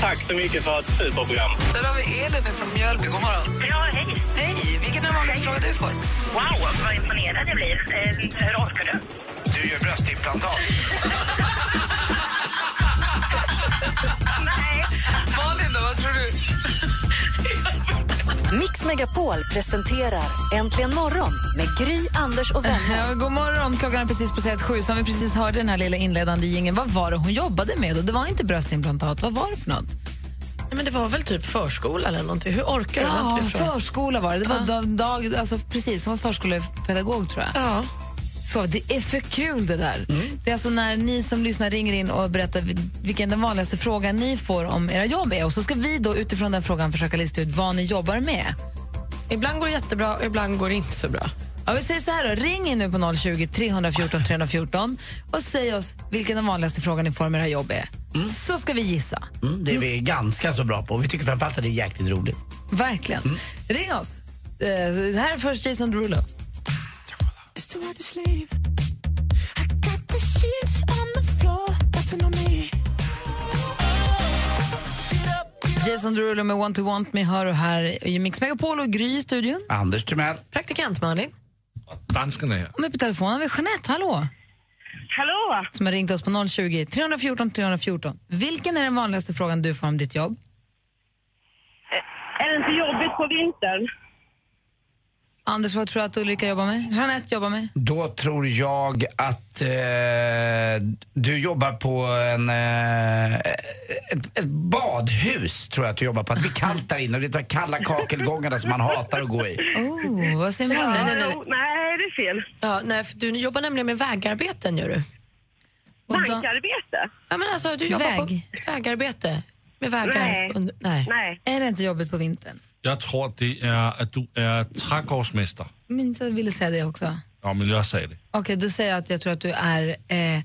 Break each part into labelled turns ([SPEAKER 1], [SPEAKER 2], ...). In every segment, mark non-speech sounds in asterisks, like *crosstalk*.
[SPEAKER 1] Tack så mycket för ett superprogram.
[SPEAKER 2] Där har vi Elin från Mjölby. God morgon.
[SPEAKER 3] Ja, hej.
[SPEAKER 2] Hej! Vilken är den vanligaste frågan du får?
[SPEAKER 3] Wow, vad imponerad jag blir. Eh, hur orkar du?
[SPEAKER 4] Du gör bröstimplantat.
[SPEAKER 3] Nej.
[SPEAKER 2] Malin, då, vad tror du?
[SPEAKER 5] Mix Megapol presenterar Äntligen morgon med Gry, Anders och vänner.
[SPEAKER 6] Ja, god morgon, klockan är precis passerat sju. Som vi precis hörde den här lilla inledande gingen. Vad var det hon jobbade med? då? Det var inte bröstimplantat. Vad var det för något?
[SPEAKER 7] Nej, men det var väl typ förskola eller någonting. Hur orkar du? Var
[SPEAKER 6] Ja,
[SPEAKER 7] inte det frågan?
[SPEAKER 6] förskola var det. Det var dag, dag, alltså precis som en förskolepedagog tror jag.
[SPEAKER 7] Ja. Mm.
[SPEAKER 6] Så det är för kul det där. Det är alltså när ni som lyssnar ringer in och berättar vil- vilken den vanligaste frågan ni får om era jobb är. Och så ska vi då utifrån den frågan försöka lista ut vad ni jobbar med.
[SPEAKER 7] Ibland går det jättebra och ibland går det inte så bra.
[SPEAKER 6] Ja, vi säger så här då, ring in nu på 020 314 314 och säg oss vilken den vanligaste frågan ni får om era jobb är. Så ska vi gissa.
[SPEAKER 4] Mm, det är vi ganska så bra på. Vi tycker framförallt att det är jäkligt roligt. Mm.
[SPEAKER 6] Verkligen. Ring oss. Eh, så här är först Jason Derulo. Jason Derulo med Want to want me hör och här i Mix Megapol och Gry i studion.
[SPEAKER 4] Anders Timell.
[SPEAKER 7] Praktikant Malin.
[SPEAKER 8] Danskarna här.
[SPEAKER 6] Och med på telefonen har vi Jeanette, hallå,
[SPEAKER 3] Hallå!
[SPEAKER 6] som har ringt oss på 020 314 314. Vilken är den vanligaste frågan du får om ditt jobb?
[SPEAKER 3] Är det inte jobbigt på vintern?
[SPEAKER 6] Anders, vad tror du att Ulrika jobbar med? Jeanette jobbar med?
[SPEAKER 9] Då tror jag att eh, du jobbar på en, eh, ett, ett badhus. tror jag att du jobbar på. Att det blir kallt där inne och det är de här kalla kakelgångarna som man hatar att gå i.
[SPEAKER 6] Oh, vad säger Malin?
[SPEAKER 7] nej, nej.
[SPEAKER 3] Jo, nej, det är fel.
[SPEAKER 7] Ja, nej, för du jobbar nämligen med vägarbeten. Gör du?
[SPEAKER 6] Och då-
[SPEAKER 3] Bankarbete?
[SPEAKER 7] Ja, men alltså, du jobbar
[SPEAKER 6] Väg.
[SPEAKER 7] på vägarbete. Med vägar.
[SPEAKER 3] Nej.
[SPEAKER 7] under- nej.
[SPEAKER 3] Nej.
[SPEAKER 6] Är det inte jobbigt på vintern?
[SPEAKER 8] Jag tror det är att du är trädgårdsmästare.
[SPEAKER 6] Men jag ville säga det också.
[SPEAKER 8] Ja, men jag säger det.
[SPEAKER 6] Okej, då säger jag att jag tror att du är eh,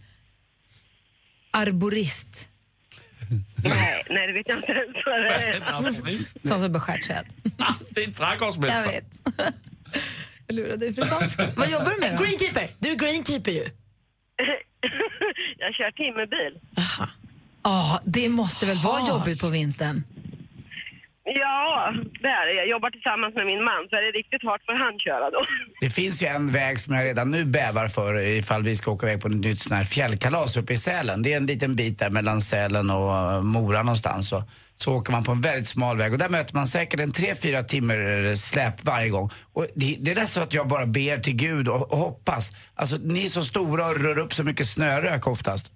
[SPEAKER 6] arborist.
[SPEAKER 3] Nej, nej, det vet jag inte ens vad det
[SPEAKER 10] *laughs*
[SPEAKER 3] är.
[SPEAKER 6] Sån som beskärt sig.
[SPEAKER 8] Det är en
[SPEAKER 6] Jag
[SPEAKER 8] trädgårdsmästare.
[SPEAKER 6] vet. *laughs* Jag lurade dig för fan. Vad jobbar du med då?
[SPEAKER 7] Greenkeeper! Du är greenkeeper ju.
[SPEAKER 3] *laughs* Jag kör timmerbil.
[SPEAKER 6] Ja, det måste väl vara
[SPEAKER 7] Har.
[SPEAKER 6] jobbigt på vintern?
[SPEAKER 3] Ja, det är det. Jag jobbar tillsammans med min man, så är det riktigt hårt för han köra då. *laughs*
[SPEAKER 9] Det finns ju en väg som jag redan nu bävar för ifall vi ska åka iväg på ett nytt sån här fjällkalas uppe i Sälen. Det är en liten bit där mellan Sälen och eh, Mora någonstans. Och så åker man på en väldigt smal väg och där möter man säkert en 3-4 timmar eh, släp varje gång. Och det, det är nästan så att jag bara ber till Gud och, och hoppas. Alltså ni är så stora och rör upp så mycket snörök oftast.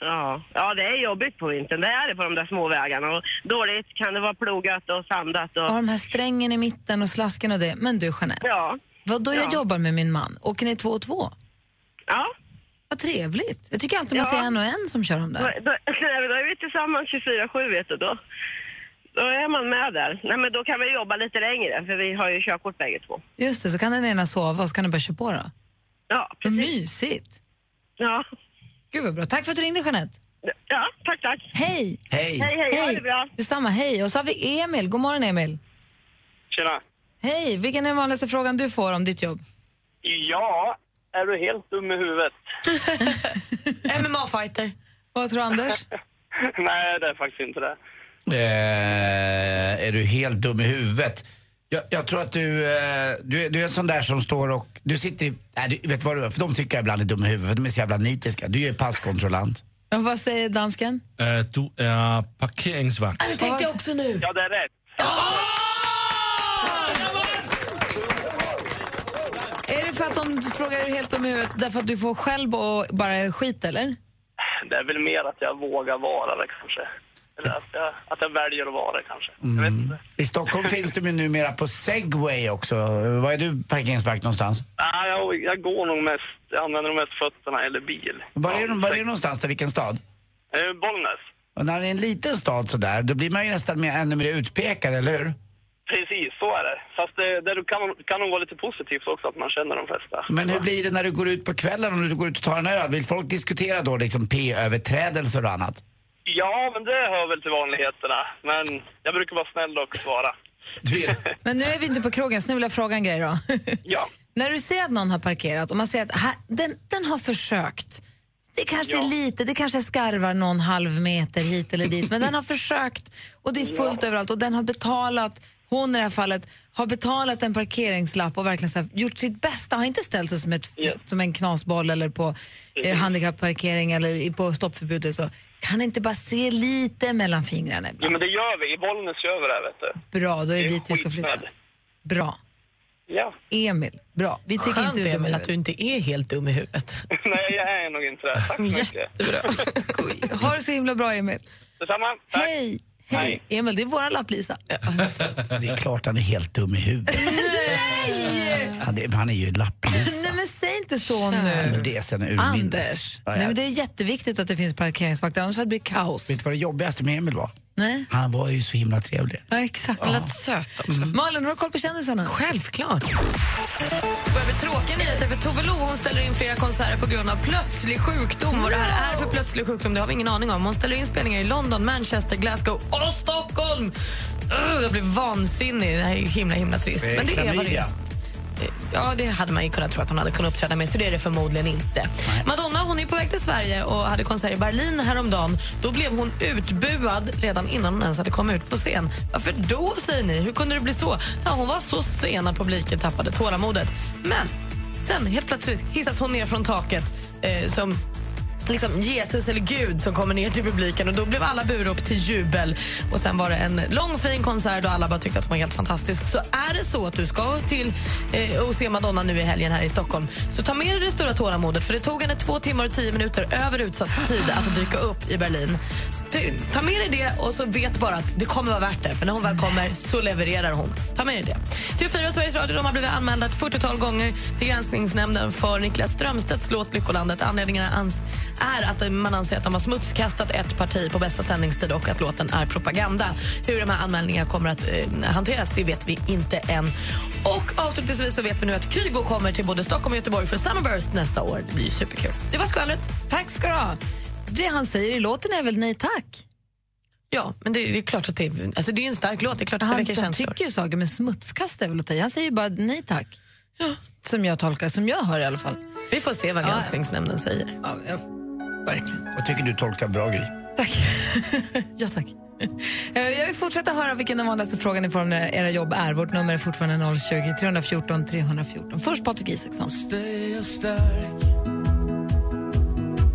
[SPEAKER 3] Ja. ja, det är jobbigt på vintern. Det är det på de där små vägarna. Och dåligt kan det vara plogat och sandat
[SPEAKER 6] Och
[SPEAKER 3] och...
[SPEAKER 6] de här strängen i mitten och slasken och det. Men du Jeanette,
[SPEAKER 3] Ja.
[SPEAKER 6] vad då jag
[SPEAKER 3] Ja.
[SPEAKER 6] jobbar med min man? Åker ni två och två?
[SPEAKER 3] Ja.
[SPEAKER 6] Vad trevligt. Jag tycker alltid man
[SPEAKER 3] Ja.
[SPEAKER 6] ser en och en som kör dem
[SPEAKER 3] Då,
[SPEAKER 6] där.
[SPEAKER 3] då, alltså, nej, då är vi tillsammans 24-7 vet du. Då, då är man med där. Nej men då kan vi jobba lite längre för vi har ju körkort bägge två.
[SPEAKER 6] Just det, så kan den ena sova och så kan den bara köra på då.
[SPEAKER 3] Ja,
[SPEAKER 6] Vad
[SPEAKER 9] Mm.
[SPEAKER 3] precis.
[SPEAKER 6] mysigt.
[SPEAKER 3] Ja.
[SPEAKER 6] Gud vad bra. Tack för att du ringde Jeanette.
[SPEAKER 3] ja, tack tack.
[SPEAKER 6] Hej!
[SPEAKER 9] Hej!
[SPEAKER 3] Hej hej, ha det bra.
[SPEAKER 6] Detsamma, hej. Och så har vi Emil. God morgon Emil.
[SPEAKER 1] Tjena.
[SPEAKER 6] Hej, vilken är den vanligaste frågan du får om ditt jobb?
[SPEAKER 1] Ja, är du helt dum i
[SPEAKER 9] *laughs*
[SPEAKER 1] huvudet?
[SPEAKER 7] MMA-fighter.
[SPEAKER 6] Vad tror du,
[SPEAKER 3] *laughs*
[SPEAKER 6] Anders?
[SPEAKER 1] Nej, det är faktiskt inte det.
[SPEAKER 9] Eh, är du helt dum i huvudet? Jag, jag tror att du, eh, du, är- du är en sån där som står och... Du sitter i... Nej, du, vet vad du är? För de tycker jag ibland är dum i huvudet, för de är så jävla nitiska. Du är ju passkontrollant.
[SPEAKER 6] Men vad säger dansken?
[SPEAKER 8] Eh, du är parkeringsvakt.
[SPEAKER 7] Det tänkte jag också nu.
[SPEAKER 1] Ja, det är rätt.
[SPEAKER 6] Är det för att de frågar dig helt om huvudet därför att du får själv och bara skit eller?
[SPEAKER 1] Det är väl mer att jag vågar vara det kanske. Eller att jag, att jag väljer att vara det kanske. Jag
[SPEAKER 9] Mm.
[SPEAKER 1] vet inte.
[SPEAKER 9] I Stockholm finns de ju numera på segway också. Eh, Var är du parkeringsvakt någonstans?
[SPEAKER 1] Nej, jag, jag går nog mest, jag använder nog mest fötterna eller bil.
[SPEAKER 9] Var är,
[SPEAKER 1] Ja,
[SPEAKER 9] du- var är du någonstans då? Vilken stad?
[SPEAKER 1] Eh, Bollnäs.
[SPEAKER 9] Och när man är i en liten stad sådär, då blir man ju nästan mer, ännu mer utpekad, eller hur?
[SPEAKER 11] Precis, så är det. Fast det, det kan, kan nog vara lite positivt också att man känner de flesta.
[SPEAKER 9] Men hur blir det när du går ut på kvällen och du går ut och tar en öl? Vill folk diskutera då liksom p-överträdelser och annat?
[SPEAKER 11] Ja, men det hör väl till vanligheterna. Men jag brukar vara snäll och svara.
[SPEAKER 5] Men nu är vi inte på krogen, så nu vill jag fråga en grej
[SPEAKER 6] *laughs*
[SPEAKER 5] då.
[SPEAKER 11] Ja.
[SPEAKER 5] När du ser att någon har parkerat och man ser att här, den, den har försökt. Det kanske är lite, det kanske skarvar någon halv meter hit eller dit, men den har *laughs* försökt och det är fullt överallt och den har betalat, hon i det här fallet, har betalat en parkeringslapp och verkligen så här, gjort sitt bästa, har inte ställt sig som, ett, som en knasboll eller på eh, handikappparkering eller i- på stoppförbud eller så. Kan inte bara se lite mellan fingrarna?
[SPEAKER 11] Jo, men det gör vi. I Bollnäs gör vi det, vet du.
[SPEAKER 5] Bra, då är det dit vi ska flytta. Bra.
[SPEAKER 11] Ja. *laughs*
[SPEAKER 5] Emil, bra. Vi tycker
[SPEAKER 12] Skönt,
[SPEAKER 5] inte du är dum i
[SPEAKER 12] Emil, att du
[SPEAKER 5] huvudet.
[SPEAKER 12] inte är helt dum i huvudet.
[SPEAKER 11] Nej, jag är nog inte det. Tack så mycket. Jättebra.
[SPEAKER 5] *laughs* Ha det så himla bra, Emil.
[SPEAKER 11] Detsamma.
[SPEAKER 5] Hej! Hej! Emil, det är våran lapplisa.
[SPEAKER 9] Det är klart han är helt dum i huvudet.
[SPEAKER 5] Nej!
[SPEAKER 9] Han är, han är ju lapplis.
[SPEAKER 5] Nej men säg inte så
[SPEAKER 9] Nej,
[SPEAKER 5] nu.
[SPEAKER 9] men det är sen urminnes.
[SPEAKER 5] Anders,
[SPEAKER 9] Ja,
[SPEAKER 5] Nej,
[SPEAKER 9] jag-
[SPEAKER 5] men det är jätteviktigt att det finns parkeringsvakter, annars hade det blivit kaos.
[SPEAKER 9] Vet du vad det jobbigaste med Emil var?
[SPEAKER 5] Nej?
[SPEAKER 9] Han var ju så himla trevlig.
[SPEAKER 5] Ja, exakt.
[SPEAKER 9] Ja.
[SPEAKER 5] Han lät söt också.
[SPEAKER 6] Mm.
[SPEAKER 5] Malin, har du koll på kändisarna?
[SPEAKER 12] Självklart.
[SPEAKER 6] börjar med tråkiga nyheter för Tove Lo hon ställer in flera konserter på grund av plötslig sjukdom. Vad det här är för plötslig sjukdom det har vi ingen aning om. Hon ställer in spelningar i London, Manchester, Glasgow och Stockholm. Ugh, jag blev vansinnig. Det här är ju himla, himla trist. Men det är vad det är. Eh, Ja, det hade man ju kunnat tro att hon hade kunnat uppträda med, så det är det förmodligen inte. Madonna hon är på väg till Sverige och hade konsert i Berlin häromdagen. Då blev hon utbuad redan innan hon ens hade kommit ut på scen. Varför då, säger ni? Hur kunde det bli så? Ja, hon var så sen att publiken tappade tålamodet. Men sen helt plötsligt hissas hon ner från taket eh, som liksom Jesus eller Gud som kommer ner till publiken och då blev alla burop till jubel. Och sen var det en lång fin konsert och alla bara tyckte att hon var helt fantastisk. Så är det så att du ska till eh, och se Madonna nu i helgen här i Stockholm så ta med dig det stora tålamodet för det tog henne två timmar och tio minuter över utsatt tid att dyka upp i Berlin. Ty- Ta med dig det och så vet bara att det kommer vara värt det. För när hon väl kommer så levererar hon. Ta med dig det. TV4 och Sveriges Radio de har blivit anmälda ett 40-tal gånger till Granskningsnämnden för Niklas Strömstedts låt Lyckolandet. Anledningarna ans- är att man anser att de har smutskastat ett parti på bästa sändningstid och att låten är propaganda. Hur de här anmälningarna kommer att eh, hanteras det vet vi inte än. Och avslutningsvis så vet vi nu att Kygo kommer till både Stockholm och Göteborg för Summerburst nästa år. Det blir ju superkul. Det var skvallret.
[SPEAKER 5] Tack ska du ha. Det han säger i låten är väl nej tack?
[SPEAKER 6] Ja, men det, det är klart att det, alltså det är ju en stark låt. Det är klart att det
[SPEAKER 5] Han,
[SPEAKER 6] väcker
[SPEAKER 5] han
[SPEAKER 6] känslor.
[SPEAKER 5] tycker ju saker, men smutskast är väl att ta i. Han säger ju bara nej tack. Som jag tolkar, som jag hör i alla fall.
[SPEAKER 6] Vi får se vad Granskningsnämnden säger.
[SPEAKER 5] Ja, jag, verkligen.
[SPEAKER 9] Vad tycker du tolkar bra grej?
[SPEAKER 5] *laughs* Ja, tack. *laughs* Eh, Jag vill fortsätta höra vilken den vanligaste frågan i form av era jobb är. Vårt nummer är fortfarande 020 314 314. Först Patrik Isaksson.
[SPEAKER 13] Stay jag stark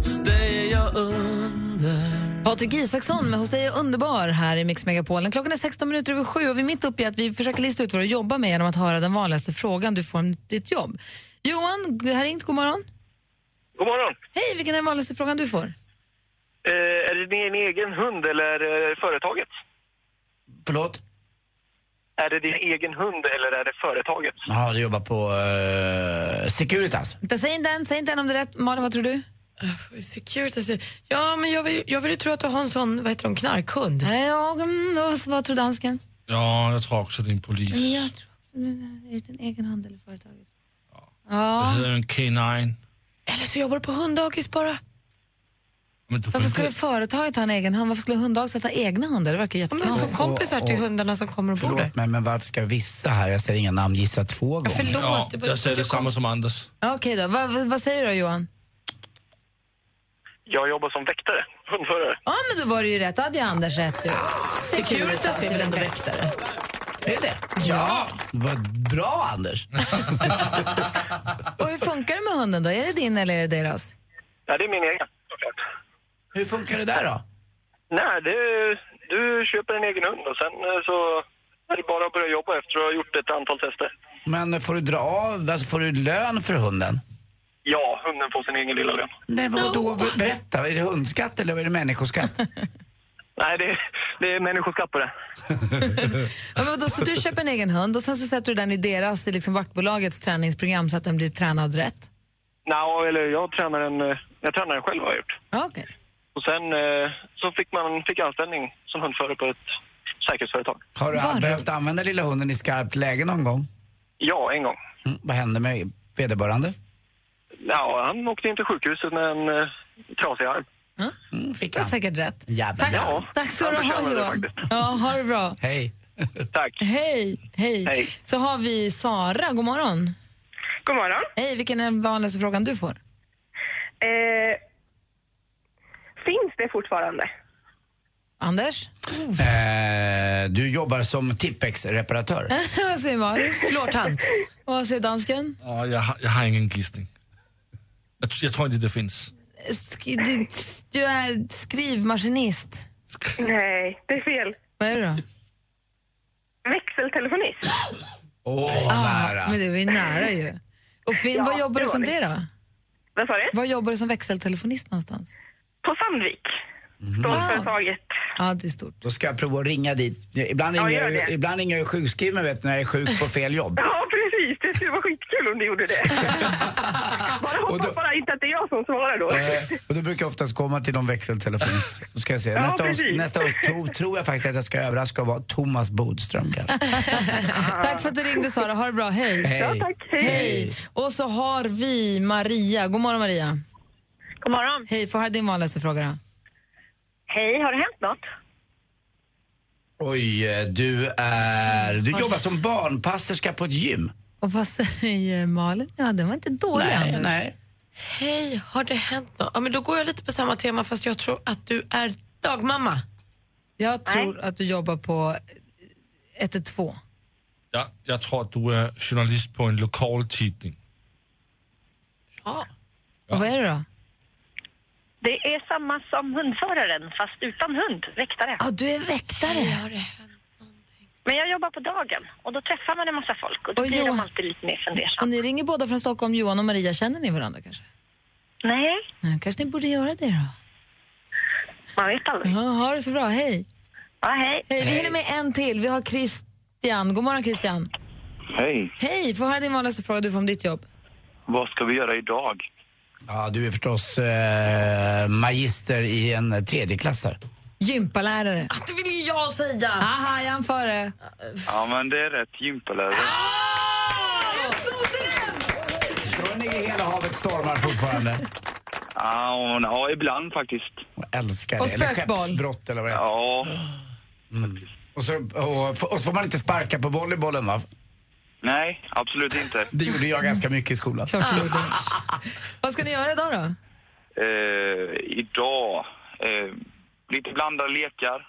[SPEAKER 13] Stay jag under
[SPEAKER 5] Patrik Isaksson med Hos dig är underbar här i Mix Megapolen. Klockan är 16 minuter över sju och vi är mitt uppe i att vi försöker lista ut vad du jobbar med genom att höra den vanligaste frågan du får om ditt jobb. Johan, det här är inte god morgon.
[SPEAKER 3] God morgon.
[SPEAKER 5] Hej, vilken är den vanligaste frågan du får?
[SPEAKER 3] Eh, är det din egen hund eller
[SPEAKER 11] eh,
[SPEAKER 3] är det företaget?
[SPEAKER 9] Förlåt?
[SPEAKER 3] Är det din egen hund eller är det företaget?
[SPEAKER 9] Ja, du jobbar på eh, Securitas.
[SPEAKER 5] Vänta, Säg inte än, säg inte än om det är rätt. Malin, vad tror du?
[SPEAKER 6] Securitas. Ja, men jag vill, jag vill ju tro att du har en sån, vad heter de, knarkhund.
[SPEAKER 5] Nej, jag, mm, vad, vad tror dansken?
[SPEAKER 10] Ja, jag tror också det är en
[SPEAKER 5] Men
[SPEAKER 10] polis.
[SPEAKER 5] jag tror också, men är det din egen hand eller företaget?
[SPEAKER 10] Det
[SPEAKER 5] Ja.
[SPEAKER 10] heter en K9.
[SPEAKER 6] Eller så jobbar du på hunddagis bara.
[SPEAKER 10] Men du får
[SPEAKER 5] Varför skulle
[SPEAKER 10] inte-
[SPEAKER 5] företaget ha en egen hund? Varför skulle hunddagis ha egna hundar? Det verkar jättekonstigt.
[SPEAKER 6] kompisar till hundarna som kommer och bor
[SPEAKER 9] Förlåt mig, men varför ska vissa här, jag säger inga namn, gissa två gånger?
[SPEAKER 6] förlåt,
[SPEAKER 10] Ja, jag säger detsamma som Anders.
[SPEAKER 5] Ja, Okej då, vad vad- vad säger du då, Johan?
[SPEAKER 3] Jag jobbar som väktare, hundförare.
[SPEAKER 5] Ja, men då var det ju rätt. Då hade ju Anders rätt ju.
[SPEAKER 6] Securitas är väl ändå väktare?
[SPEAKER 9] Är det?
[SPEAKER 5] Ja.
[SPEAKER 9] Vad bra, Anders.
[SPEAKER 5] Och hur funkar det med hunden då? Är det din eller är det deras?
[SPEAKER 3] Ja, det är min egen, såklart.
[SPEAKER 9] Hur funkar det där då?
[SPEAKER 3] Nej, det, du köper en egen hund och sen eh, så är det bara att börja jobba efter att du har gjort ett antal tester.
[SPEAKER 9] Men får du dra av, alltså får du lön för hunden?
[SPEAKER 3] Ja, hunden får sin egen lilla lön.
[SPEAKER 9] Nej, men då berätta, är det hundskatt eller är det människoskatt?
[SPEAKER 3] Nej, det, det är människoskatt på det.
[SPEAKER 5] Ja, men då, så du köper en egen hund och sen så sätter du den i deras, i liksom vaktbolagets träningsprogram så att den blir tränad rätt?
[SPEAKER 3] Nej, eller jag tränar en, eh, jag tränar en själv har jag gjort.
[SPEAKER 5] Ja, Okej.
[SPEAKER 3] Och
[SPEAKER 14] Och sen eh, så fick man fick anställning som hundförare på ett säkerhetsföretag.
[SPEAKER 9] Har du behövt använda lilla hunden i skarpt läge någon gång?
[SPEAKER 14] Ja, en gång.
[SPEAKER 9] Mm, vad hände med vederbörande?
[SPEAKER 14] Ja, han åkte in till sjukhuset med en eh, trasig arm.
[SPEAKER 9] Mm, fick
[SPEAKER 6] Det är säkert rätt.
[SPEAKER 9] Jävla
[SPEAKER 6] Tack,
[SPEAKER 14] Ja.
[SPEAKER 6] tack ska du
[SPEAKER 14] Ja, det kan
[SPEAKER 6] ha
[SPEAKER 14] man väl
[SPEAKER 6] Johan. Ja, ha det bra.
[SPEAKER 9] Hej.
[SPEAKER 14] Tack.
[SPEAKER 6] Hej, hej. Så har vi Sara, god morgon.
[SPEAKER 15] God morgon.
[SPEAKER 6] Hej, vilken är den vanligaste frågan du får?
[SPEAKER 15] Eh, finns det fortfarande?
[SPEAKER 6] Anders?
[SPEAKER 9] Eh, du jobbar som Tippex-reparatör.
[SPEAKER 6] *laughs* Vad säger Malin? Flårtant. Vad säger dansken?
[SPEAKER 8] Ja, jag, har, jag har ingen gissning. Jag, tr- jag tror inte det finns.
[SPEAKER 6] Sk- du, du är skrivmaskinist.
[SPEAKER 15] Nej, det är fel.
[SPEAKER 6] Vad är du då?
[SPEAKER 15] Växeltelefonist.
[SPEAKER 9] Åh, nära.
[SPEAKER 6] Ah, Men det var ju nära ju. Och fin,
[SPEAKER 15] Ja,
[SPEAKER 6] vad jobbar
[SPEAKER 15] det
[SPEAKER 6] du
[SPEAKER 15] var
[SPEAKER 6] som
[SPEAKER 15] det.
[SPEAKER 6] det då?
[SPEAKER 15] Vad sa du?
[SPEAKER 6] Vad jobbar du som växeltelefonist någonstans? Ah,
[SPEAKER 15] På Sandvik. Stålföretaget.
[SPEAKER 6] Ja, det är stort.
[SPEAKER 9] Då ska jag prova att ringa dit. Ibland
[SPEAKER 15] Ja,
[SPEAKER 9] ringer,
[SPEAKER 15] gör
[SPEAKER 9] jag, ju-
[SPEAKER 15] det.
[SPEAKER 9] ibland ringer jag ju sjukskriven vet, när jag är sjuk på fel jobb.
[SPEAKER 15] Ja, precis. Det skulle vara skitkul om du gjorde det. bara hoppas bara inte att det är jag som svarar då.
[SPEAKER 9] Eh, och då brukar jag oftast komma till
[SPEAKER 15] *laughs*
[SPEAKER 9] någon växeltelefonist. Då ska jag se.
[SPEAKER 15] Ja,
[SPEAKER 9] Nästa, års,
[SPEAKER 15] precis.
[SPEAKER 9] nästa års prov tror jag faktiskt att jag ska överraska och vara Thomas Bodström kanske.
[SPEAKER 6] Tack för att du ringde Sara, ha det bra, hej.
[SPEAKER 9] Hej. Ja, tack. Hej.
[SPEAKER 6] Och så har vi Maria, god morgon Maria.
[SPEAKER 16] God morgon.
[SPEAKER 6] Hej, få höra din vanligaste fråga då.
[SPEAKER 16] Hej, har det hänt något?
[SPEAKER 9] Oj, eh, du är... Du jobbar som barnpasserska på ett gym.
[SPEAKER 6] Och vad säger Malin? Ja, den var inte dålig Anders.
[SPEAKER 7] Hej, har det hänt något? Ja, men då går jag lite på samma tema fast jag tror att du är dagmamma.
[SPEAKER 6] Jag tror att du jobbar på 112.
[SPEAKER 8] Jag, jag tror att du är journalist på en lokal tidning.
[SPEAKER 6] Och vad är det då?
[SPEAKER 16] Det är samma som hundföraren, fast utan hund. Väktare.
[SPEAKER 6] Ja, du är väktare.
[SPEAKER 16] Men jag jobbar på dagen och då träffar man en massa folk och då
[SPEAKER 6] Och
[SPEAKER 16] blir
[SPEAKER 6] Johan-
[SPEAKER 16] de alltid lite mer fundersamma.
[SPEAKER 6] Och ni ringer båda från Stockholm, Johan och Maria, känner ni varandra kanske?
[SPEAKER 16] Nej,
[SPEAKER 6] Nej, kanske ni borde göra det då?
[SPEAKER 16] man vet aldrig.
[SPEAKER 6] Ja, ha det så bra, hej.
[SPEAKER 16] Ja, hej.
[SPEAKER 6] hej. Vi hinner med en till, vi har Christian. God morgon Christian.
[SPEAKER 17] Hej,
[SPEAKER 6] Hej, få höra din vanligaste fråga du får om ditt jobb.
[SPEAKER 17] vad ska vi göra idag?
[SPEAKER 9] Ja, du är förstås eh, magister i en eh, tredjeklassare.
[SPEAKER 6] Gympalärare.
[SPEAKER 7] Det vill ju jag säga!
[SPEAKER 6] Aha, jag anför det.
[SPEAKER 17] Ja, men det är rätt gympalärare.
[SPEAKER 7] Ah!
[SPEAKER 9] Kör ni i hela havet stormar fortfarande?
[SPEAKER 17] Ja, och- ja, ibland faktiskt.
[SPEAKER 9] Jag älskar det.
[SPEAKER 17] Och
[SPEAKER 9] Eller
[SPEAKER 17] spökboll.
[SPEAKER 9] skeppsbrott eller vad det är. Ja. Mm. Och, så, och, och så får man inte sparka på volleybollen va?
[SPEAKER 17] Nej, absolut inte.
[SPEAKER 9] Det gjorde jag ganska mycket i skolan.
[SPEAKER 6] Klart
[SPEAKER 7] Ah.
[SPEAKER 6] du gjorde. Vad ska ni göra idag då?
[SPEAKER 17] Eh, idag, eh, lite blandade lekar.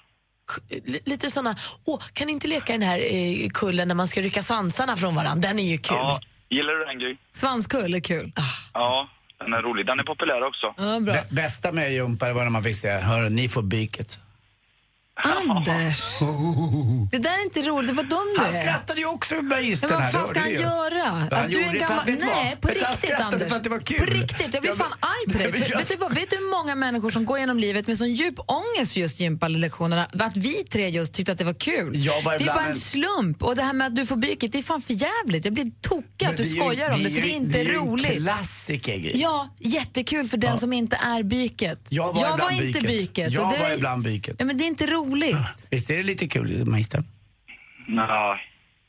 [SPEAKER 7] L- lite såna, åh, kan ni inte leka den här eh, kullen när man ska rycka svansarna från varandra? Den är ju kul. Ah.
[SPEAKER 17] Ja, gillar du den Gry?
[SPEAKER 6] Svanskull är kul.
[SPEAKER 17] Ja, den är rolig. Den är populär också.
[SPEAKER 9] Bä, bästa med jumpare var när man fick säga, hör ni får byket.
[SPEAKER 6] Anders! Det där är inte roligt, vad dum du
[SPEAKER 9] Han
[SPEAKER 6] är.
[SPEAKER 9] skrattade ju också med magistern
[SPEAKER 6] Men vad
[SPEAKER 9] här,
[SPEAKER 6] fan
[SPEAKER 9] hörde
[SPEAKER 6] ska
[SPEAKER 9] du
[SPEAKER 6] han
[SPEAKER 9] ju.
[SPEAKER 6] göra?
[SPEAKER 9] Ja, han
[SPEAKER 6] Att du är
[SPEAKER 9] gjorde
[SPEAKER 6] en
[SPEAKER 9] det för
[SPEAKER 6] gammal...
[SPEAKER 9] att vet du vad?
[SPEAKER 6] Nej, på
[SPEAKER 9] Vet du, han
[SPEAKER 6] riktigt
[SPEAKER 9] skrattade
[SPEAKER 6] Anders.
[SPEAKER 9] för att det var kul.
[SPEAKER 6] På riktigt, jag blir
[SPEAKER 9] Ja, men-
[SPEAKER 6] fan arg på
[SPEAKER 9] Nej,
[SPEAKER 6] dig.
[SPEAKER 9] men
[SPEAKER 6] För,
[SPEAKER 9] jag-
[SPEAKER 6] vet, du vad, vet du hur många människor som går genom livet med sån djup ångest för just gympalektionerna, att vi tre just tyckte att det var kul?
[SPEAKER 9] Jag var
[SPEAKER 6] det är
[SPEAKER 9] ibland
[SPEAKER 6] bara en
[SPEAKER 9] en-
[SPEAKER 6] slump. Och det här med att du får byket, det är fan för jävligt. Jag blir tokig
[SPEAKER 9] Men
[SPEAKER 6] att du
[SPEAKER 9] är ju-
[SPEAKER 6] skojar om det, för det är inte
[SPEAKER 9] ju en
[SPEAKER 6] roligt.
[SPEAKER 9] klassiker Gry.
[SPEAKER 6] Ja, jättekul för den som inte är byket.
[SPEAKER 9] Jag var ibland
[SPEAKER 6] inte byket. och
[SPEAKER 9] Jag
[SPEAKER 6] det
[SPEAKER 9] var
[SPEAKER 6] är-
[SPEAKER 9] ibland byket. Ah,
[SPEAKER 6] Ja, men det är inte roligt.
[SPEAKER 9] Visst är det lite kul, magistern?
[SPEAKER 17] Nej,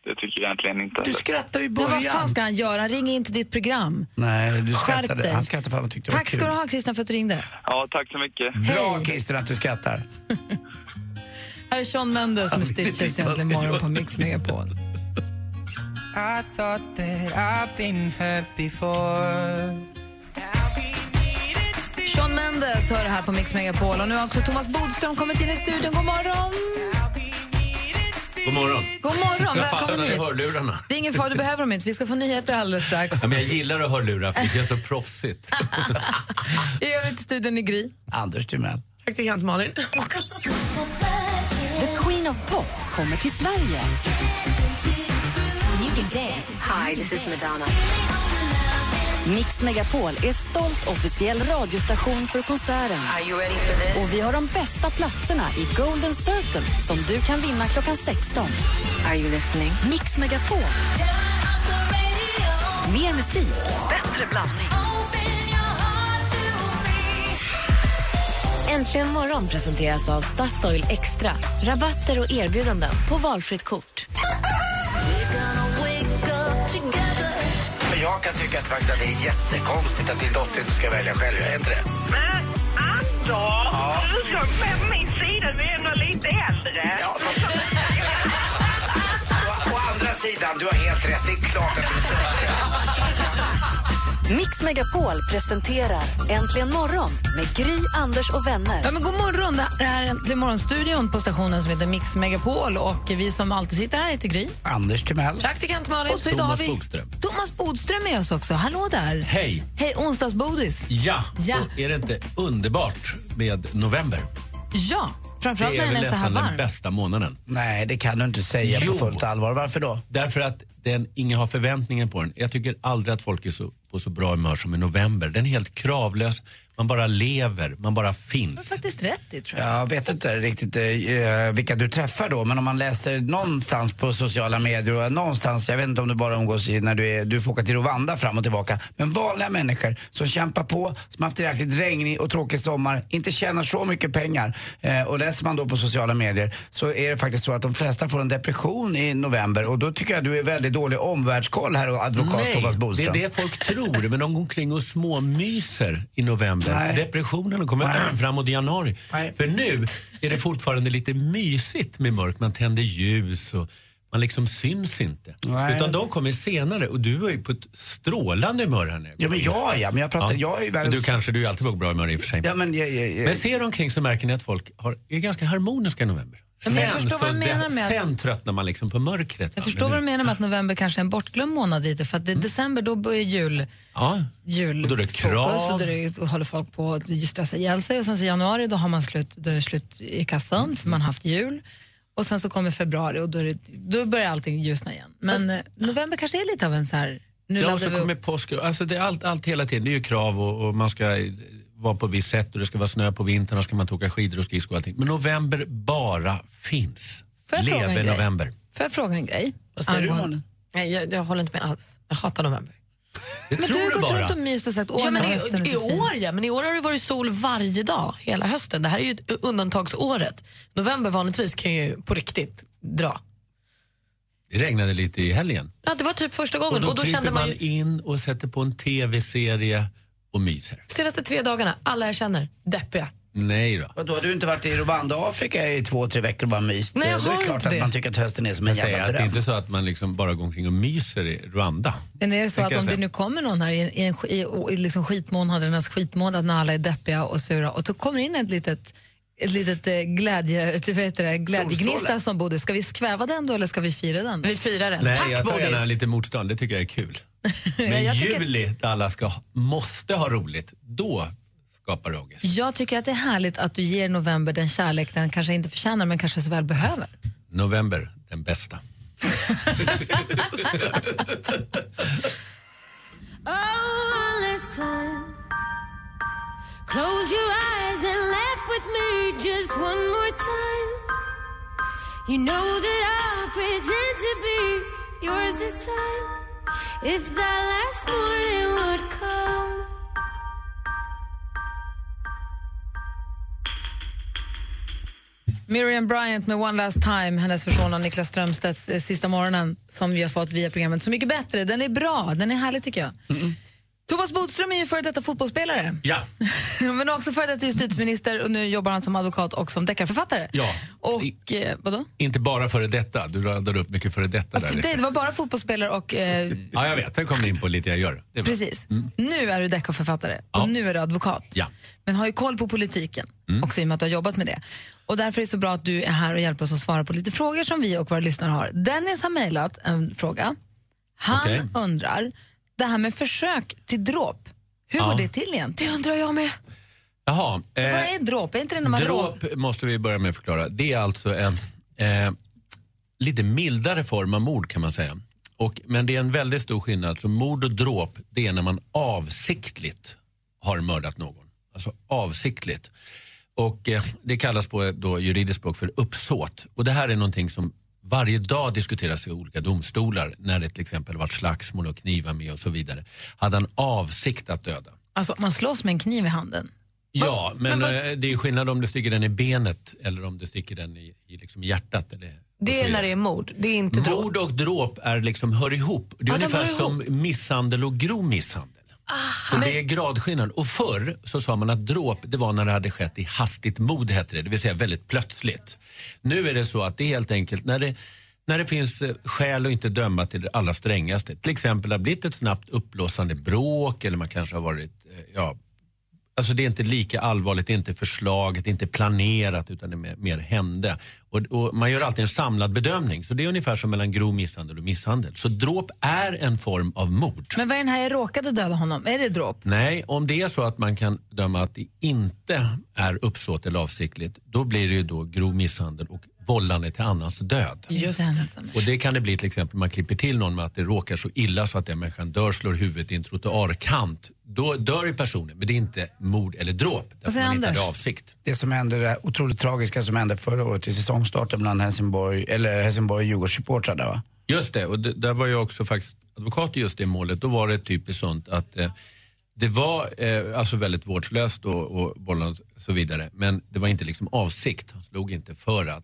[SPEAKER 17] det tycker jag egentligen inte.
[SPEAKER 9] Du skrattar ju i
[SPEAKER 6] Men vad
[SPEAKER 9] början.
[SPEAKER 6] fan ska han göra? Han ringer in till ditt program.
[SPEAKER 9] Nej, du
[SPEAKER 6] Skärp
[SPEAKER 9] skrattade.
[SPEAKER 6] dig.
[SPEAKER 9] Han skrattade för att han tyckte det var
[SPEAKER 6] Tack
[SPEAKER 9] kul.
[SPEAKER 6] ska du ha Christian för att du ringde.
[SPEAKER 17] Ja, tack så mycket.
[SPEAKER 9] Bra Christer att du skrattar.
[SPEAKER 6] Här är Sean Mendes med Stitches egentligen morgon på Mix
[SPEAKER 18] I
[SPEAKER 6] Megapol.
[SPEAKER 18] thought that I've been hurt before.
[SPEAKER 6] Sean Mendes hör här på Mix Megapol och nu har också Thomas Bodström kommit in i studion. God morgon!
[SPEAKER 10] God morgon.
[SPEAKER 6] God morgon,
[SPEAKER 10] Jag fastnade
[SPEAKER 6] välkommen
[SPEAKER 10] i
[SPEAKER 6] hit.
[SPEAKER 10] hörlurarna.
[SPEAKER 6] Det är ingen fara, du behöver dem inte. Vi ska få nyheter alldeles strax.
[SPEAKER 10] Ja, men jag gillar att ha hörlurar för det känns så proffsigt.
[SPEAKER 6] I övrigt i studion i Gry.
[SPEAKER 9] Anders Timell.
[SPEAKER 7] Praktikant Malin.
[SPEAKER 5] The Queen of Pop kommer till Sverige. Hi, this is Madonna. Mix Megapol är stolt officiell radiostation för konserten. Are you ready for this? Och vi har de bästa platserna i Golden Circle som du kan vinna klockan 16. Are you listening? Mix Megapol. Mer musik, bättre blandning. Äntligen morgon presenteras av Statoil Extra. Rabatter och erbjudanden på valfritt kort.
[SPEAKER 9] Men jag kan tycka att, faktiskt att det är jättekonstigt att din dotter inte ska välja själv. Är inte det?
[SPEAKER 15] Anders, du såg med på min sida. Du är ändå lite äldre.
[SPEAKER 9] Å andra sidan, du har helt rätt. Det är klart att du
[SPEAKER 5] Mix Megapol presenterar Äntligen morgon med Gry, Anders och vänner.
[SPEAKER 6] Ja, men god morgon! Det här är Äntligen morgonstudion på stationen som heter Mix Megapol. Och vi som alltid sitter här heter Gry.
[SPEAKER 9] Anders Timell.
[SPEAKER 6] Praktikant Malin. Och så idag har
[SPEAKER 10] Thomas
[SPEAKER 6] vi
[SPEAKER 10] Bodström.
[SPEAKER 6] Thomas Bodström är med oss också. Hallå där!
[SPEAKER 10] Hej!
[SPEAKER 6] Hej, onsdagsbodis.
[SPEAKER 10] Ja,
[SPEAKER 6] Ja.
[SPEAKER 10] Och är det inte underbart med november?
[SPEAKER 6] Ja, framförallt
[SPEAKER 10] det är
[SPEAKER 6] när den
[SPEAKER 10] väl
[SPEAKER 6] är så här
[SPEAKER 10] nästan den
[SPEAKER 6] varm.
[SPEAKER 10] bästa månaden.
[SPEAKER 9] Nej, det kan du inte säga
[SPEAKER 10] Jo.
[SPEAKER 9] på fullt allvar. Varför då?
[SPEAKER 10] Därför att den, ingen har förväntningar på den. Jag tycker aldrig att folk är så, på så bra humör som i november. Den är helt kravlös. Man bara lever, man bara finns.
[SPEAKER 6] Faktiskt rätt i, tror jag.
[SPEAKER 9] Jag vet inte riktigt eh, vilka du träffar då, men om man läser någonstans på sociala medier och någonstans, jag vet inte om du bara umgås i, när du, är, du får åka till Rwanda fram och tillbaka, men vanliga människor som kämpar på, som haft en jäkligt regnig och tråkig sommar, inte tjänar så mycket pengar eh, och läser man då på sociala medier så är det faktiskt så att de flesta får en depression i november och då tycker jag du är väldigt dålig omvärldskoll här, och advokat Thomas
[SPEAKER 10] det är
[SPEAKER 9] Bodström.
[SPEAKER 10] det folk tror. Men de går omkring och småmyser i november.
[SPEAKER 9] Nej.
[SPEAKER 10] Depressionen kommer *clears throat* framåt i januari. För nu är det fortfarande lite mysigt med mörk. Man tänder ljus och man liksom syns inte.
[SPEAKER 9] Nej.
[SPEAKER 10] Utan de kommer senare och du var ju på ett strålande humör här nu.
[SPEAKER 9] Ja, men jag, ja, men jag pratar- jag är ju världens-
[SPEAKER 10] Du kanske, du är alltid på bra humör i och för sig.
[SPEAKER 9] Ja, men, jag, jag, jag,
[SPEAKER 10] Men ser omkring så märker ni att folk har, är ganska harmoniska i november.
[SPEAKER 6] Ja, men jag förstår vad
[SPEAKER 10] så
[SPEAKER 6] du menar
[SPEAKER 10] det-
[SPEAKER 6] med att-
[SPEAKER 10] sen tröttnar man liksom på mörkret.
[SPEAKER 6] Jag
[SPEAKER 10] va?
[SPEAKER 6] förstår vad
[SPEAKER 10] Men Mm.
[SPEAKER 6] du menar med att november kanske är en bortglömd månad lite. För att det, december, då börjar jul.
[SPEAKER 10] Ja.
[SPEAKER 6] jul
[SPEAKER 10] Och då är det
[SPEAKER 6] Och
[SPEAKER 10] krav.
[SPEAKER 6] då är det, håller folk på att stressa ihjäl sig. Och sen så i januari då har man slut, då är det slut i kassan för man har haft jul. Och sen så kommer februari och då, är det, då börjar allting ljusna igen. Men eh, november kanske är lite av en så här... Nu
[SPEAKER 10] ja,
[SPEAKER 6] laddar
[SPEAKER 10] och så
[SPEAKER 6] vi upp.
[SPEAKER 10] kommer påsk. Alltså det är allt, allt hela tiden. Det är ju krav och, och man ska eh, vara på visst sätt och det ska vara snö på vintern och ska man inte åka skidor och skridskor och allting. Men november bara finns.
[SPEAKER 6] Får jag fråga en
[SPEAKER 10] Leve
[SPEAKER 6] grej?
[SPEAKER 10] november.
[SPEAKER 6] Får jag fråga en grej?
[SPEAKER 2] Vad säger du,
[SPEAKER 6] Angående-
[SPEAKER 2] Malin? Nej, jag, jag håller inte med alls. Jag hatar november.
[SPEAKER 10] Det
[SPEAKER 6] Men
[SPEAKER 10] tror
[SPEAKER 6] du har
[SPEAKER 10] du
[SPEAKER 6] gått
[SPEAKER 10] bara.
[SPEAKER 6] runt och myst och sagt åh,
[SPEAKER 2] ja, men
[SPEAKER 6] men
[SPEAKER 2] i,
[SPEAKER 6] hösten är
[SPEAKER 2] i
[SPEAKER 6] så fin.
[SPEAKER 2] år ja, men i år har det varit sol varje dag hela hösten. Det här är ju ett undantagsåret. November vanligtvis kan ju på riktigt dra.
[SPEAKER 10] Det regnade lite i helgen.
[SPEAKER 2] Ja, det var typ första gången
[SPEAKER 10] och då,
[SPEAKER 2] och då
[SPEAKER 10] kryper
[SPEAKER 2] kände man
[SPEAKER 10] man
[SPEAKER 2] ju,
[SPEAKER 10] in och sätter på en tv-serie och myser.
[SPEAKER 2] senaste tre dagarna, alla jag känner, deppiga.
[SPEAKER 10] Nej då.
[SPEAKER 9] Vadå, har du inte varit i Rwanda, Afrika i två, tre veckor och bara myst?
[SPEAKER 2] Nej, jag
[SPEAKER 9] Då är
[SPEAKER 2] har
[SPEAKER 9] det klart
[SPEAKER 2] inte
[SPEAKER 9] att
[SPEAKER 2] det.
[SPEAKER 9] man tycker att hösten är som en
[SPEAKER 10] Men säg
[SPEAKER 9] jävla
[SPEAKER 10] att det
[SPEAKER 9] dröm.
[SPEAKER 10] är inte så att man liksom bara går omkring och myser i Rwanda.
[SPEAKER 6] Men är det så
[SPEAKER 10] Det
[SPEAKER 6] att
[SPEAKER 10] kan
[SPEAKER 6] om
[SPEAKER 10] jag
[SPEAKER 6] det
[SPEAKER 10] säga.
[SPEAKER 6] nu kommer någon här i, en- i, en, sk- i, och i liksom skitmånadernas skitmånad när alla är deppiga och sura och så kommer det in ett litet, ett litet eh, glädje, *laughs* typ, vad heter det, glädjegnista som Bodil. Ska vi skväva den då eller ska vi fira den?
[SPEAKER 2] Vi firar den.
[SPEAKER 10] Nej,
[SPEAKER 2] Tack
[SPEAKER 10] jag tar
[SPEAKER 2] Bodis.
[SPEAKER 10] gärna lite motstånd. Det tycker jag
[SPEAKER 6] *laughs*
[SPEAKER 10] är kul. Men
[SPEAKER 6] jag tycker-
[SPEAKER 10] juli, där alla ska, ha- måste ha roligt, då skapar det ångest.
[SPEAKER 6] Jag tycker att det är härligt att du ger november den kärlek den kanske inte förtjänar men kanske så väl behöver.
[SPEAKER 10] November, den bästa.
[SPEAKER 19] Close your eyes and laugh with me just one more time. You know that I'll pretend to be yours this time. If that last morning would come.
[SPEAKER 6] Miriam Bryant med One Last Time, hennes version av Niklas Strömstedts eh, Sista morgonen som vi har fått via programmet Så mycket bättre. Den är bra, den är härlig tycker jag. Thomas Bodström är ju före detta fotbollsspelare.
[SPEAKER 10] Ja.
[SPEAKER 6] *laughs* Men också före detta justitieminister och nu jobbar han som advokat och som deckarförfattare.
[SPEAKER 10] ja.
[SPEAKER 6] Och eh, vadå?
[SPEAKER 10] Inte bara före detta, du radade upp mycket före detta. Där.
[SPEAKER 6] Det, det var bara fotbollsspelare och... Eh,
[SPEAKER 10] Ja, jag vet. Sen kom ni in på lite jag gör. Det är bra.
[SPEAKER 6] precis. Nu är du deckarförfattare och
[SPEAKER 10] Mm. Ja.
[SPEAKER 6] nu är du advokat.
[SPEAKER 10] Ja.
[SPEAKER 6] Men har ju koll på politiken
[SPEAKER 10] Mm.
[SPEAKER 6] också i och med att du har jobbat med det. Och därför är det så bra att du är här och hjälper oss att svara på lite frågor som vi och våra lyssnare har. Dennis har mejlat en fråga. Han
[SPEAKER 19] Okej.
[SPEAKER 6] undrar, det här med försök till dråp, hur
[SPEAKER 10] Ja.
[SPEAKER 6] går det till egentligen? Det undrar jag med.
[SPEAKER 10] Jaha. eh,
[SPEAKER 6] Vad är dråp? Är inte det när man råkar-
[SPEAKER 10] Dråp måste vi börja med att förklara. Det är alltså en eh, lite mildare form av mord kan man säga. Och, men det är en väldigt stor skillnad. Så mord och dråp, det är när man avsiktligt har mördat någon. Alltså avsiktligt. Och eh, det kallas på då, juridiskt språk för uppsåt. Och det här är någonting som varje dag diskuteras i olika domstolar när det till exempel varit slagsmål och knivar med och så vidare. Hade han avsikt att döda?
[SPEAKER 6] Alltså man slåss med en kniv i handen.
[SPEAKER 10] Ja, men, eh, det är skillnad om du sticker den i benet eller om du sticker den i, i liksom hjärtat. Eller, och
[SPEAKER 2] Det är
[SPEAKER 10] så
[SPEAKER 2] när
[SPEAKER 10] vidare.
[SPEAKER 2] det är mord. Det är inte dråp.
[SPEAKER 10] Mord och dråp är liksom, hör ihop. Det är
[SPEAKER 2] Ja, de
[SPEAKER 10] ungefär
[SPEAKER 2] hör
[SPEAKER 10] som misshandel och grov misshandel. Så det är gradskillnad. Och förr så sa man att dråp det var när det hade skett i hastigt mod, hette det. det vill säga väldigt plötsligt. Nu är det så att det är helt enkelt när det, när det finns eh, skäl att inte döma till det allra strängaste. Till exempel det har blivit ett snabbt uppblåsande bråk eller man kanske har varit eh, ja, Alltså det är inte lika allvarligt, det är inte förslaget, det är inte planerat utan det är mer, mer hände. Och, och man gör alltid en samlad bedömning. Så det är ungefär som mellan grov misshandel och misshandel. Så dråp är en form av mord.
[SPEAKER 6] Men vad är den här jag råkade döda honom? Är det dråp?
[SPEAKER 10] Nej, om det är så att man kan döma att det inte är uppsåt eller avsiktligt, då blir det ju då grov misshandel och vållande till annans död.
[SPEAKER 6] Just
[SPEAKER 10] Och det kan det bli till exempel man klipper till någon med att det råkar så illa så att den människan dör, slår huvudet i en trottoarkant. Då dör ju personen, men det är inte mord eller dråp. Därför man inte hade avsikt.
[SPEAKER 9] Det som hände, det otroligt tragiska som hände förra året i säsongstarten bland Helsingborg, eller Helsingborg och Djurgårdssupportrar där va?
[SPEAKER 10] Just det, och d- där var jag också faktiskt advokat i just det målet. Då var det typiskt sånt att eh, det var eh, alltså väldigt vårdslöst och, och bollen och så vidare. Men det var inte liksom avsikt, han slog inte för att.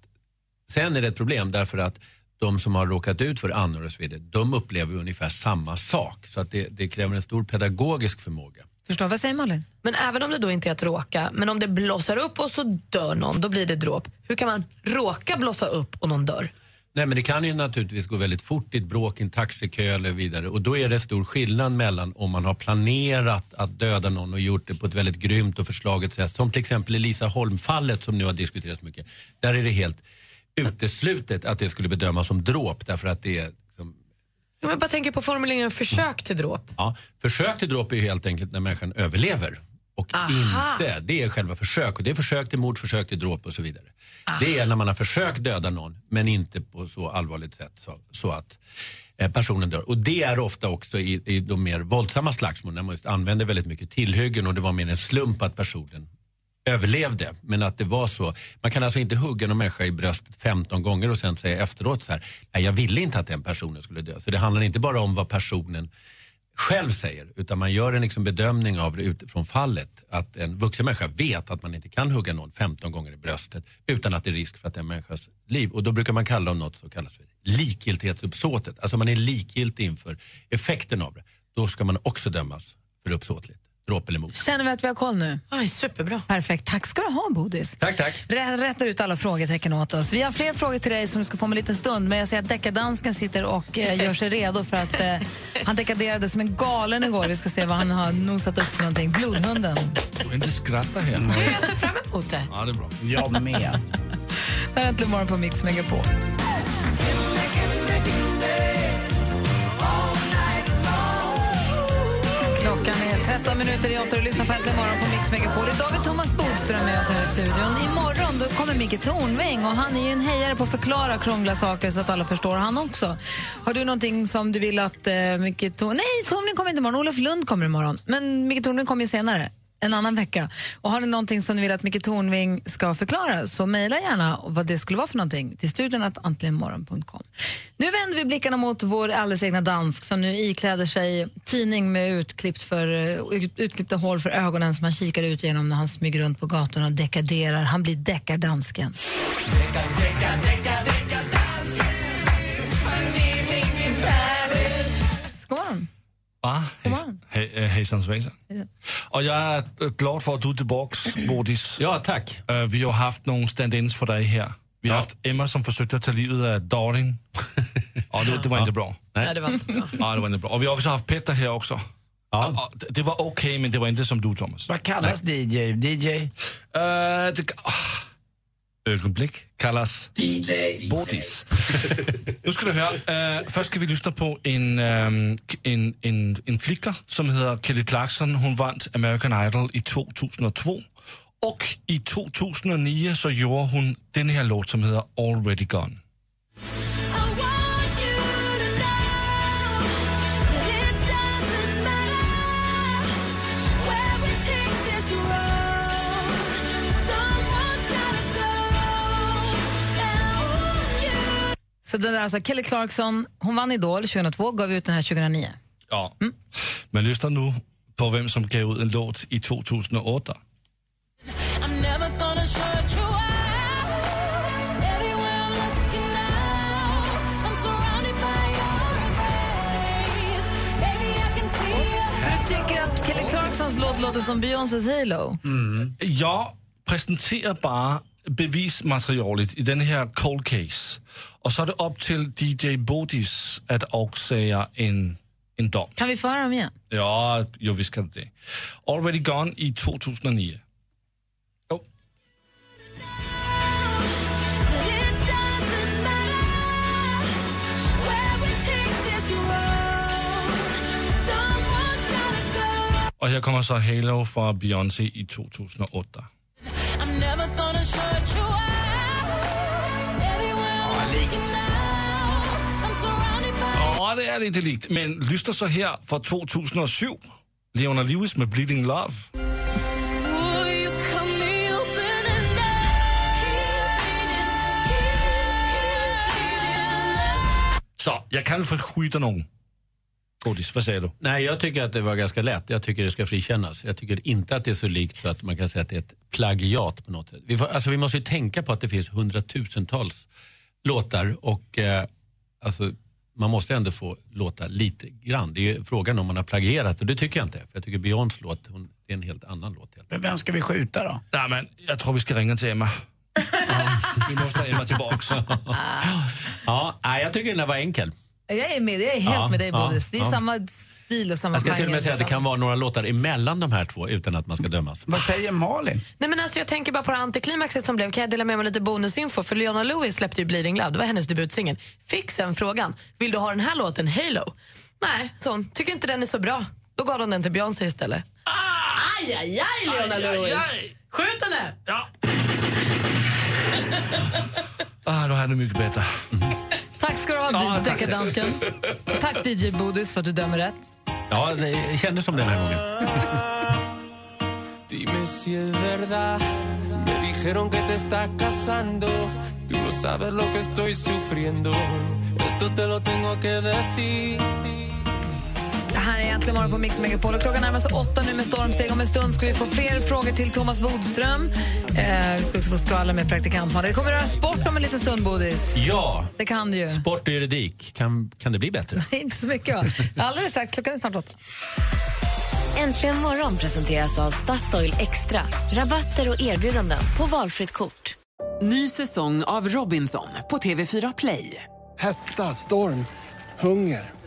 [SPEAKER 10] Sen är det ett problem därför att de som har råkat ut för anor och så vidare, de upplever ju ungefär samma sak. Så att det, det kräver en stor pedagogisk förmåga.
[SPEAKER 6] Förstår, vad säger Malin?
[SPEAKER 2] Men även om det då inte är att råka, men om det blossar upp och så dör någon, då blir det dråp. Hur kan man råka blossa upp och någon dör?
[SPEAKER 10] Nej, men det kan ju naturligtvis gå väldigt fort i ett bråk, i en taxikö eller vidare. Och då är det stor skillnad mellan om man har planerat att döda någon och gjort det på ett väldigt grymt och förslaget sätt. Som till exempel i Lisa Holm-fallet som nu har diskuterats mycket. Där är det helt uteslutet att det skulle bedömas som dråp därför att det är liksom,
[SPEAKER 2] Ja, men Jag bara tänker på formuleringen försök till dråp.
[SPEAKER 10] ja, försök till dråp är ju helt enkelt när människan överlever. Och
[SPEAKER 2] Aha.
[SPEAKER 10] inte, det är själva försök. Och det är försök till mord, försök till dråp och så vidare. Det är när man har försökt döda någon men inte på så allvarligt sätt så, så att eh, personen dör. Och det är ofta också i, i de mer våldsamma slagsmålen när man just använder väldigt mycket tillhyggen och det var mer en slump att personen överlevde. Men att det var så. Man kan alltså inte hugga någon människa i bröstet 15 gånger och sen säga efteråt så här, nej jag ville inte att den personen skulle dö. Så det handlar inte bara om vad personen själv säger utan man gör en liksom bedömning av det utifrån fallet. Att en vuxen människa vet att man inte kan hugga någon 15 gånger i bröstet utan att det är risk för att den människas liv. Och då brukar man kalla om något som kallas för likgiltighetsuppsåtet. Alltså man är likgiltig inför effekten av det. Då ska man också dömas för uppsåtligt. Dråp eller mord.
[SPEAKER 6] Känner vi att vi har koll nu?
[SPEAKER 2] Aj, superbra.
[SPEAKER 6] Perfekt. Tack ska du ha, Bodis.
[SPEAKER 10] Tack, tack.
[SPEAKER 6] Rä- Rätar ut alla frågetecken åt oss. Vi har fler frågor till dig som du ska få om en liten stund. Men jag ser att deckardansken sitter och eh, gör sig redo för att eh, han dekaderade som en galen igår. Vi ska se vad han har nosat upp för någonting. Blodhunden.
[SPEAKER 8] Du inte skratta här.
[SPEAKER 2] Jag ser fram emot det.
[SPEAKER 8] Ja, det är bra.
[SPEAKER 9] Jag med.
[SPEAKER 10] *laughs*
[SPEAKER 6] Äntligen morgon på Mix Megapol. Klockan är 13 minuter i åtta och du lyssnar på Äntligen morgon på Mix Megapol. Idag har vi Thomas Bodström med oss här i studion. Imorgon då kommer Micke Tornving och han är ju en hejare på att förklara krångliga saker så att alla förstår han också. Har du någonting som du vill att eh, Micke Tornving... Nej, Tornving kommer inte imorgon. Olof Lund kommer imorgon. Men Micke Tornving kommer ju senare. En annan vecka. Och har ni någonting som ni vill att Micke Tornving ska förklara så mejla gärna vad det skulle vara för någonting till studion att antligenmorgon.com. Nu vänder vi blickarna mot vår alldeles egna dansk som nu ikläder sig tidning med utklippt för, ut- utklippta hål för ögonen som han kikar ut genom när han smyger runt på gatorna och dekaderar. Han blir deckardansken. God morgon.
[SPEAKER 8] Va?
[SPEAKER 6] God morgon.
[SPEAKER 8] Hej, eh, hejsan svejsan.
[SPEAKER 6] Hejsan.
[SPEAKER 8] Och jag är eh, glad för att du är tillbaks, Bodis. Øh,
[SPEAKER 10] Ja, tack.
[SPEAKER 8] vi har haft några stand-ins för dig här. Vi har haft Emma som försökte att ta livet av Dorin. Och det, det var inte bra.
[SPEAKER 2] Nej, det var inte bra.
[SPEAKER 8] Nej, det var inte bra. Och vi har också haft Petter här också. Ja. Det, det var okej, men det var inte som du, Thomas.
[SPEAKER 9] Vad kallas DJ? DJ?
[SPEAKER 8] Eh, det, ah, ögonblick kallas
[SPEAKER 9] DJ.
[SPEAKER 8] Bodis. nu ska du höra. Uh, först ska vi lyssna på en, ehm, k- en, en, en flicka som heter Kelly Clarkson. Hon vann American Idol i 2002. Och i 2009 så gjorde hon den här låt som heter Already Gone.
[SPEAKER 6] Så den där alltså, Kelly Clarkson, hon vann Idol 2002, gav ut den här 2009.
[SPEAKER 8] Mm. Ja. Men lyssna nu på vem som gav ut en låt i 2008.
[SPEAKER 6] Kelly Clarksons låt låter som Beyoncés Halo.
[SPEAKER 9] Mm.
[SPEAKER 10] Jeg præsenterer bare bevismaterialet i den her cold case. Og så er det op til DJ Bodis at afsager en, en dom.
[SPEAKER 6] Kan vi få höra dem igen?
[SPEAKER 10] Ja, jo visst kan du det. Already Gone i 2009. Og her kommer så Halo fra Beyoncé i 2008. Og det er lidt likt, men lyster så her fra 2007. Leona Lewis med Bleeding Love. Så, jeg kan få skjuta nogen. Godis, vad säger du?
[SPEAKER 9] Nej, jag tycker att det var ganska lätt. Jag tycker det ska frikännas. Jag tycker inte att det är så likt så att man kan säga att det är ett plagiat på något sätt. Vi, får, alltså, vi måste ju tänka på att det finns hundratusentals låtar och eh, alltså, man måste ändå få låta lite grann. Det är ju frågan om man har plagierat och det tycker jag inte. För jag tycker Beyoncés låt, hon, det är en helt annan låt. Helt.
[SPEAKER 20] Men vem ska vi skjuta då?
[SPEAKER 10] Nej, men jag tror vi ska ringa till Emma. Vi måste ha Emma tillbaks.
[SPEAKER 9] ja, nej, jag tycker den här var enkel.
[SPEAKER 6] Jag är med, jag är helt
[SPEAKER 9] Ja,
[SPEAKER 6] med dig
[SPEAKER 9] ja,
[SPEAKER 6] Bodis. Det är
[SPEAKER 9] ja.
[SPEAKER 6] samma stil och samma
[SPEAKER 9] Jag ska till och
[SPEAKER 6] genre,
[SPEAKER 9] med säga att det
[SPEAKER 6] samma-
[SPEAKER 9] kan vara några låtar emellan de här två utan att man ska dömas.
[SPEAKER 20] Vad säger Malin?
[SPEAKER 21] Nej, men alltså, jag tänker bara på det antiklimaxet som blev. Kan jag dela med mig av lite bonusinfo? För Leona Lewis släppte ju Bleeding Love, det var hennes debutsingel. Fick sen frågan, vill du ha den här låten Halo? Nej, så hon tycker inte den är så bra. Då gav hon den till Beyoncé istället. Aj, aj, aj, Leona
[SPEAKER 22] Aj, aj,
[SPEAKER 21] Lewis!
[SPEAKER 22] aj.
[SPEAKER 21] Skjut henne! Ja.
[SPEAKER 10] Ah, nu har jag det mycket bättre.
[SPEAKER 6] Tack ska du ha,
[SPEAKER 10] Ja,
[SPEAKER 6] ja,
[SPEAKER 10] tack.
[SPEAKER 6] deckardansken. Tack DJ Bodis för att du dömer rätt.
[SPEAKER 9] Ja, det kändes som den här gången.
[SPEAKER 3] Dime si es verdad. Me dijeron que te estás casando. Tú no sabes lo que estoy sufriendo. Esto te lo tengo que decir.
[SPEAKER 6] Det här är egentligen morgon på Mix Megapol och klockan närmar sig åtta nu med stormsteg. Om en stund ska vi få fler frågor till Thomas Bodström. Eh, vi ska också få skvallra med praktikant Malin. Det kommer röra sport om en liten stund, Bodis.
[SPEAKER 9] Ja,
[SPEAKER 6] Det kan du ju. *laughs*
[SPEAKER 9] sport och juridik. Kan, kan det bli bättre?
[SPEAKER 6] Inte så mycket, va? Alldeles strax. Klockan är snart åtta.
[SPEAKER 5] Äntligen morgon presenteras av Statoil Extra. Rabatter och erbjudanden på valfritt kort.
[SPEAKER 12] Ny säsong av Robinson på TV4 Play.
[SPEAKER 23] Hetta, storm, hunger.